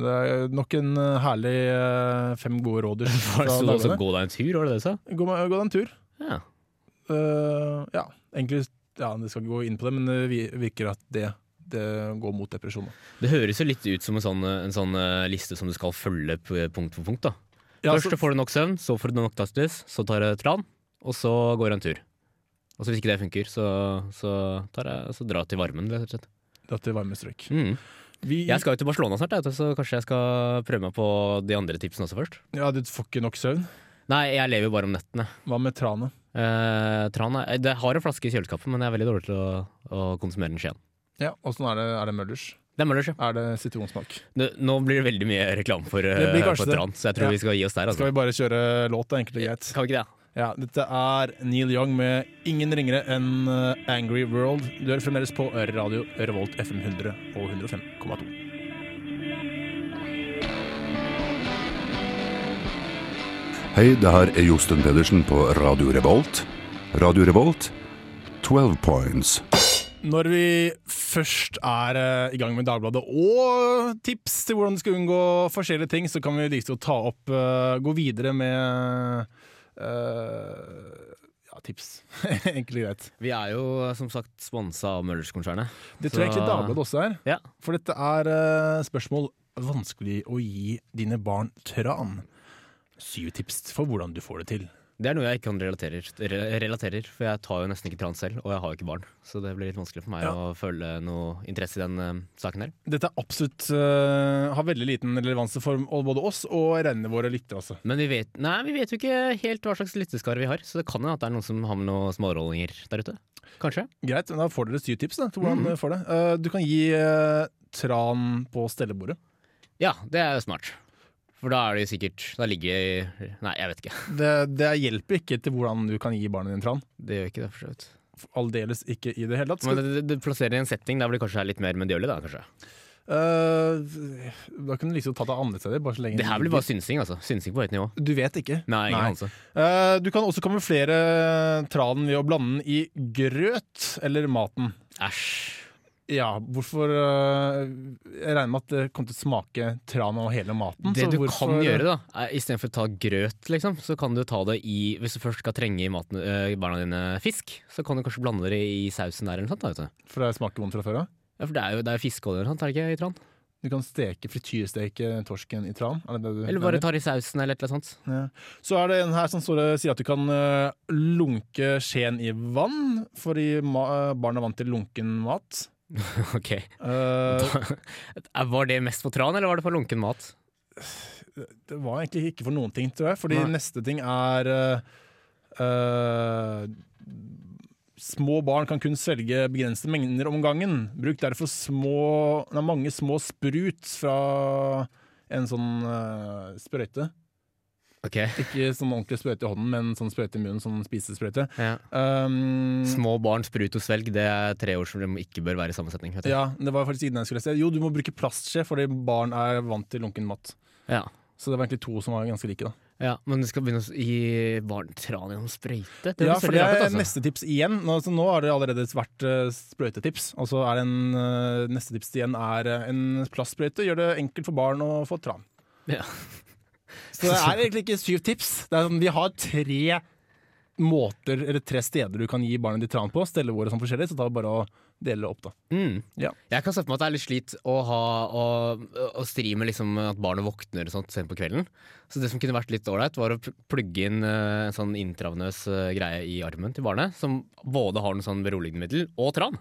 [SPEAKER 2] det er nok en eh, herlig eh, fem gode
[SPEAKER 3] *laughs*
[SPEAKER 2] råd. fra
[SPEAKER 3] Så du også
[SPEAKER 2] Dagbladet.
[SPEAKER 3] gå deg en tur, var det det du sa?
[SPEAKER 2] Gå, med- gå deg en tur.
[SPEAKER 3] Ja.
[SPEAKER 2] Eh, ja, egentlig ja, Jeg skal ikke gå inn på det, men det vi- virker at det, det går mot depresjon. da.
[SPEAKER 3] Det høres jo litt ut som en sånn, en sånn eh, liste som du skal følge p- punkt for punkt. da.
[SPEAKER 2] Ja,
[SPEAKER 3] Først
[SPEAKER 2] så-
[SPEAKER 3] så får du nok søvn, så får du nok dagslys, så tar du tran, og så går du en tur. Og så Hvis ikke det funker, så, så, tar jeg, så drar jeg til varmen. rett og slett.
[SPEAKER 2] Dra til varme strøk.
[SPEAKER 3] Mm.
[SPEAKER 2] Vi,
[SPEAKER 3] Jeg skal jo til Barcelona snart, jeg, vet du, så kanskje jeg skal prøve meg på de andre tipsene også først.
[SPEAKER 2] Ja, du får ikke nok søvn.
[SPEAKER 3] Nei, jeg lever jo bare om nettene.
[SPEAKER 2] Hva med tranet?
[SPEAKER 3] Eh, tran er, det har en flaske i kjøleskapet, men jeg er veldig dårlig til å, å konsumere den skjeen.
[SPEAKER 2] Ja, Åssen er det, er det Møllers?
[SPEAKER 3] Det er Møllers, ja.
[SPEAKER 2] Er det sitronsmak?
[SPEAKER 3] Nå nå blir det veldig mye reklame for, eh,
[SPEAKER 2] Det blir kanskje
[SPEAKER 3] for
[SPEAKER 2] det.
[SPEAKER 3] tran, så jeg tror
[SPEAKER 2] Ja.
[SPEAKER 3] vi skal gi oss der. Altså.
[SPEAKER 2] Skal vi bare kjøre låt, da? Enkelt og greit.
[SPEAKER 3] Kan vi ikke det?
[SPEAKER 2] Ja, dette er Neil Young med ingen ringere enn eh, Angry World. Du hører fremdeles på Radio Revolt FM 100 og 105,2.
[SPEAKER 12] Hei, det her er Josten Pedersen på Radio Revolt. Radio Revolt, 12 points.
[SPEAKER 2] Når vi f først er eh, i gang med Dagbladet og tips til hvordan du skal unngå forskjellige ting, så kan vi like så godt ta opp eh, Gå videre med eh, ja, tips. *laughs* Enkelt og greit.
[SPEAKER 3] Vi er jo som sagt sponsa av Møllers-konsernet.
[SPEAKER 2] Det tror jeg egentlig Dagbladet også er.
[SPEAKER 3] Ja.
[SPEAKER 2] For dette er eh, spørsmål vanskelig å gi dine barn tran. Syv tips for hvordan du får det til.
[SPEAKER 3] Det er noe jeg ikke kan relatere, re- relaterer, for jeg tar jo nesten ikke trans selv, og jeg har jo ikke barn. Så det blir litt vanskelig for meg
[SPEAKER 2] Ja.
[SPEAKER 3] å føle noe interesse i den eh, saken der.
[SPEAKER 2] Dette er absolutt eh, har veldig liten relevanse for både oss og regnene våre lyttere. Altså.
[SPEAKER 3] Men vi vet, nei, vi vet jo ikke helt hva slags lytteskare vi har, så det kan hende at det er noen som har med noen smårollinger der ute. Kanskje.
[SPEAKER 2] Greit, men da får dere syv tips da, til
[SPEAKER 3] Mhm.
[SPEAKER 2] hvordan dere får det. Eh, du kan gi eh, tran på stellebordet.
[SPEAKER 3] Ja, det er jo smart. For da er det jo sikkert Da ligger det i Nei, jeg vet ikke.
[SPEAKER 2] Det, det hjelper ikke til hvordan du kan gi barnet din tran.
[SPEAKER 3] Det gjør ikke det, for så vidt.
[SPEAKER 2] Aldeles ikke i det hele tatt.
[SPEAKER 3] Men
[SPEAKER 2] Skal,
[SPEAKER 3] det, det, det plasserer i en setting der hvor det kanskje er litt mer medgjørlig, da, kanskje.
[SPEAKER 2] Eh, da kunne du liksom tatt det andre steder. Bare så lenge
[SPEAKER 3] Det her blir bare synsing, altså. Synsing på høyt nivå.
[SPEAKER 2] Du vet ikke.
[SPEAKER 3] Nei, ingen anelse.
[SPEAKER 2] Eh, du kan også kamuflere tranen ved å blande den i grøt eller maten.
[SPEAKER 3] altså. Æsj.
[SPEAKER 2] Ja, hvorfor eh, Jeg regner med at det kommer til å smake tran og hele maten.
[SPEAKER 3] Det
[SPEAKER 2] Mm. så
[SPEAKER 3] du
[SPEAKER 2] hvorfor-
[SPEAKER 3] kan gjøre, da, er istedenfor å ta grøt, liksom, så kan du ta det i Hvis du først skal trenge i maten, øh, barna dine fisk, så kan du kanskje blande det i sausen der eller noe sånt. da, vet du.
[SPEAKER 2] For det smaker vondt fra før av.
[SPEAKER 3] Ja, for det er jo, det er jo fiskeolje eller noe sånt, er det ikke, i tran?
[SPEAKER 2] Du kan steke, frityrsteke torsken i tran. Er det det du
[SPEAKER 3] Eller bare
[SPEAKER 2] mener?
[SPEAKER 3] ta det i sausen eller et eller annet sånt. *laughs*
[SPEAKER 2] Ja. Så er det en her som står og sier at du kan eh, lunke skjeen i vann, for i ma eh, barn er vant til lunken mat.
[SPEAKER 3] ok.
[SPEAKER 2] Eh,
[SPEAKER 3] Da- var det mest for tran, eller var det for lunken mat?
[SPEAKER 2] det var egentlig ikke for noen ting, tror jeg, fordi
[SPEAKER 3] Nei.
[SPEAKER 2] neste ting er eh, eh, Små barn kan kun svelge begrensede mengder om gangen. Bruk derfor små, nei, mange små sprut fra en sånn eh, sprøyte.
[SPEAKER 3] Ok,
[SPEAKER 2] Ikke sånn ordentlig sprøyte i hånden, men sånn sprøyte i munnen, sånn spisesprøyte.
[SPEAKER 3] ja.
[SPEAKER 2] Um,
[SPEAKER 3] Små barn, sprut og svelg, det er tre ord som liksom ikke bør være i samme setning. Vet du.
[SPEAKER 2] Ja, det var faktisk ikke den jeg skulle si. Jo, du må bruke plastskje, fordi barn er vant til lunken mat.
[SPEAKER 3] Ja.
[SPEAKER 2] Så det var egentlig to som var ganske like, da.
[SPEAKER 3] Ja, men du skal begynne å gi barn tran gjennom sprøyte? Det
[SPEAKER 2] ja,
[SPEAKER 3] høres
[SPEAKER 2] for
[SPEAKER 3] veldig
[SPEAKER 2] det
[SPEAKER 3] rart ut,
[SPEAKER 2] er
[SPEAKER 3] altså.
[SPEAKER 2] neste tips igjen. Nå, så nå har det allerede vært eh, sprøytetips, og så er det en eh, neste tips igjen er eh, en plastsprøyte. Gjør det enkelt for barn å få tran.
[SPEAKER 3] Ja.
[SPEAKER 2] Så det er egentlig ikke syv tips. Det er sånn, vi har tre måter, eller tre steder du kan gi barnet ditt tran på. Stelle våre sånn forskjellig, så da er det bare å dele det opp, da.
[SPEAKER 3] Mm.
[SPEAKER 2] Ja.
[SPEAKER 3] Jeg kan se for meg at det er litt slit å, ha, å, å stri med liksom at barnet våkner og sånt sent på kvelden. Så det som kunne vært litt ålreit, var å pl- plugge inn eh, en sånn intravenøs eh, greie i armen til barnet, som både har noe sånn beroligende middel og tran.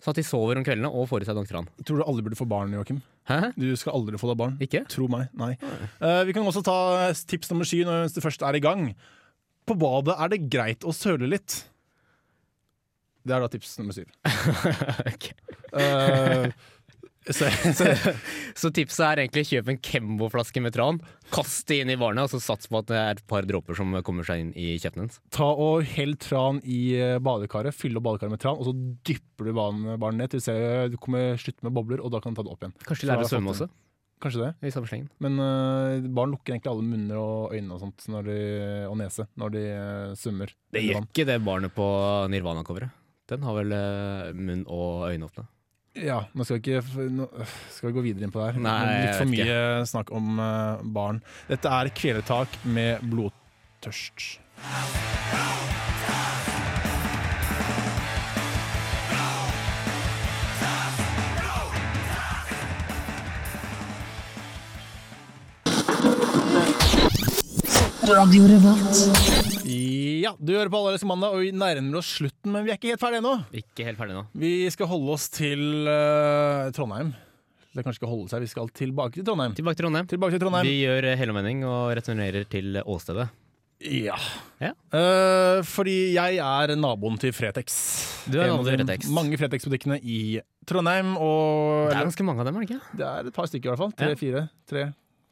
[SPEAKER 3] Sånn at de sover om kveldene og får i seg nok tran.
[SPEAKER 2] Tror du alle burde få barn, Joakim?
[SPEAKER 3] Hæ?
[SPEAKER 2] Du skal aldri få deg barn.
[SPEAKER 3] *laughs* Ikke?
[SPEAKER 2] Tro meg. Nei. Eh, vi kan også ta eh, tips nummer sju når- mens du først er i gang. På badet er det greit å søle litt. Det er da tips nummer syv.
[SPEAKER 3] Ok. *laughs*
[SPEAKER 2] Eh, så, så,
[SPEAKER 3] Så tipset er egentlig kjøp en Kembo-flaske med tran, kast det inn i barnet, og så sats på at det er et par dråper som kommer seg inn i kjeften hennes.
[SPEAKER 2] ta og hell tran i eh, badekaret, fyll opp badekaret med tran, og så dypper du barn- barnet ned til du ser- du kommer slutt med bobler, og da kan du ta det opp igjen.
[SPEAKER 3] Kanskje
[SPEAKER 2] Så
[SPEAKER 3] de lærer å
[SPEAKER 2] da har
[SPEAKER 3] svømme
[SPEAKER 2] jeg fått
[SPEAKER 3] også,
[SPEAKER 2] det. Kanskje det.
[SPEAKER 3] i samme slengen.
[SPEAKER 2] Men eh, barn lukker egentlig alle munner og øyne og sånt når de, og nese når de eh, svømmer.
[SPEAKER 3] Det
[SPEAKER 2] under
[SPEAKER 3] gjør
[SPEAKER 2] vann.
[SPEAKER 3] ikke det barnet på Nirvana-coveret. Den har vel eh, munn og øyne åpne.
[SPEAKER 2] Ja, nå skal vi ikke nå øh, skal vi gå videre inn på det her.
[SPEAKER 3] Nei,
[SPEAKER 2] Men Litt
[SPEAKER 3] jeg
[SPEAKER 2] for
[SPEAKER 3] vet
[SPEAKER 2] mye snakk om eh, barn. Dette er Kveletak med blodtørst.
[SPEAKER 8] Radio Revolt.
[SPEAKER 2] Ja, du hører på Allerede som mandag, og vi nærmer oss slutten, men vi er ikke helt ferdige ennå.
[SPEAKER 3] Ikke helt ferdig nå.
[SPEAKER 2] Vi skal holde oss til eh, Trondheim. Det kanskje ikke holde seg, vi skal tilbake til Trondheim.
[SPEAKER 3] Tilbake til Trondheim.
[SPEAKER 2] Tilbake til Trondheim.
[SPEAKER 3] Vi gjør eh, helomvending og returnerer til åstedet.
[SPEAKER 2] Ja.
[SPEAKER 3] Ja.
[SPEAKER 2] Eh, fordi jeg er naboen til Fretex.
[SPEAKER 3] Du er
[SPEAKER 2] En av
[SPEAKER 3] naboen til
[SPEAKER 2] de
[SPEAKER 3] Fretex.
[SPEAKER 2] Mange Fretex-butikkene i Trondheim. Og,
[SPEAKER 3] Det er
[SPEAKER 2] eller,
[SPEAKER 3] ganske mange av dem, er det ikke?
[SPEAKER 2] det er et par stykker, i hvert fall. Tre,
[SPEAKER 3] Ja.
[SPEAKER 2] fire. Tre,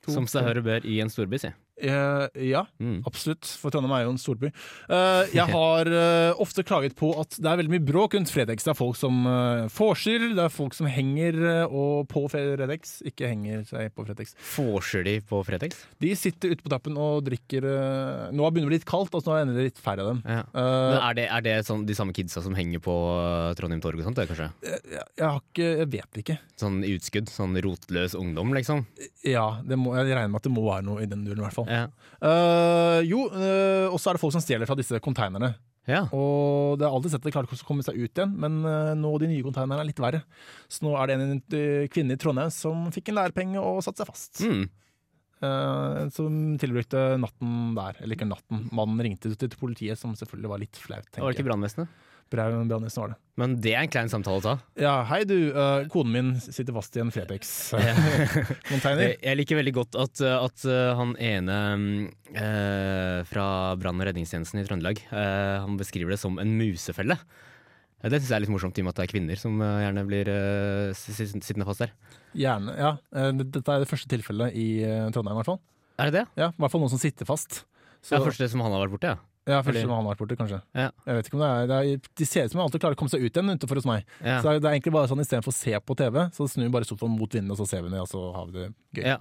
[SPEAKER 2] to.
[SPEAKER 3] Som seg hør og bør i en storby, si. Mm.
[SPEAKER 2] Eh, ja, absolutt. For Trondheim er jo en storby. Eh, jeg har eh, ofte klaget på at det er veldig mye bråk rundt Fredex. Det er folk som uh, vorser, det er folk som henger eh, og på Fredex, ikke henger seg på Fredex.
[SPEAKER 3] Vorser de på Fretex?
[SPEAKER 2] De sitter ute på tappen og drikker eh, Nå begynner det å bli litt kaldt, altså nå er det endelig litt færre av dem.
[SPEAKER 3] Ja.
[SPEAKER 2] Eh,
[SPEAKER 3] Men er det, er det sånn, de samme kidsa som henger på eh, Trondheim Torg og sånt, det, kanskje?
[SPEAKER 2] jeg, jeg, jeg har ikke, jeg vet ikke.
[SPEAKER 3] Sånn i utskudd? Sånn rotløs ungdom, liksom?
[SPEAKER 2] Ja, det må, jeg regner med at det må være noe i den duren, i hvert fall.
[SPEAKER 3] Ja.
[SPEAKER 2] Eh, jo, eh, og så er det folk som stjeler fra disse konteinerne. Og det er alltid sett at de klarer ikke å komme seg ut igjen, men eh, nå de nye konteinerne er litt verre. Så nå er det en eh, kvinne i Trondheim som fikk en lærepenge og satte seg fast.
[SPEAKER 3] Mm.
[SPEAKER 2] Eh, som tilbrukte natten der. Eller ikke natten, mannen ringte til politiet, som selvfølgelig var litt flaut.
[SPEAKER 3] Var det ikke brannvesenet?
[SPEAKER 2] Braun Brandnesen var det.
[SPEAKER 3] Men det er en klein samtale å ta.
[SPEAKER 2] Ja, hei du, eh, konen min sitter fast i en eh,
[SPEAKER 3] *laughs*
[SPEAKER 2] Fretex-container.
[SPEAKER 3] Jeg, Eh, jeg liker veldig godt at, uh, at uh, han ene mm, eh, fra brann- og redningstjenesten i Trøndelag eh, Han beskriver det som en musefelle. Eh, Det syns jeg er litt morsomt, i og med at det er kvinner som eh, gjerne blir eh, s- s- sittende fast der.
[SPEAKER 2] Gjerne, ja. Eh, d- Dette er det første tilfellet i eh, Trondheim, i hvert fall.
[SPEAKER 3] Er det det?
[SPEAKER 2] Ja, I hvert fall noen som sitter fast. Så-
[SPEAKER 3] Det er første som han har vært borte, ja.
[SPEAKER 2] Ja, første
[SPEAKER 3] Eller-
[SPEAKER 2] som han har vært borte, kanskje.
[SPEAKER 3] Ja.
[SPEAKER 2] Jeg vet ikke om det er, det er De ser ut som de alltid klarer å komme seg ut igjen utenfor hos meg. Så
[SPEAKER 3] Ja.
[SPEAKER 2] det er- det er egentlig bare sånn istedenfor å se på TV, så snur vi bare sofaen mot vinden, og så ser vi den, og så har vi det gøy.
[SPEAKER 3] Ja.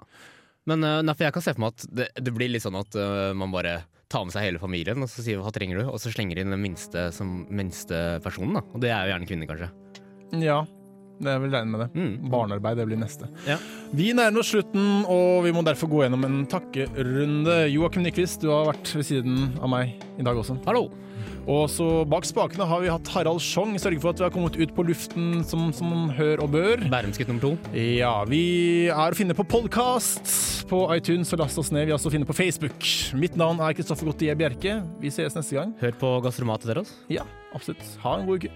[SPEAKER 3] Men eh, nei, for jeg kan se for meg at det, det blir litt sånn at eh, man bare tar med seg hele familien og så sier hva trenger du, og så slenger de inn den minste, som minste personen. da. Og det er jo gjerne kvinner, kanskje. Mm.
[SPEAKER 2] Ja, det er vel regnet med det. Barnearbeid det blir neste.
[SPEAKER 3] Ja.
[SPEAKER 2] Vi nærmer oss slutten, og vi må derfor gå gjennom en takkerunde. Joakim Nyquist, du har vært ved siden av meg i dag også.
[SPEAKER 3] Hallo!
[SPEAKER 2] Og så bak spakene har vi hatt Harald Schjong, sørge for at vi har kommet ut på luften som, som hør og bør.
[SPEAKER 3] Bærumsgutt nummer to.
[SPEAKER 2] Ja, vi er å finne på podkast på iTunes, og last oss ned. Vi er også å finne på Facebook. Mitt navn er Kristoffer Gottier Bjerke. Vi sees neste gang.
[SPEAKER 3] Hør på Gastromat altså. etter oss.
[SPEAKER 2] Ja, absolutt. Ha en god uke.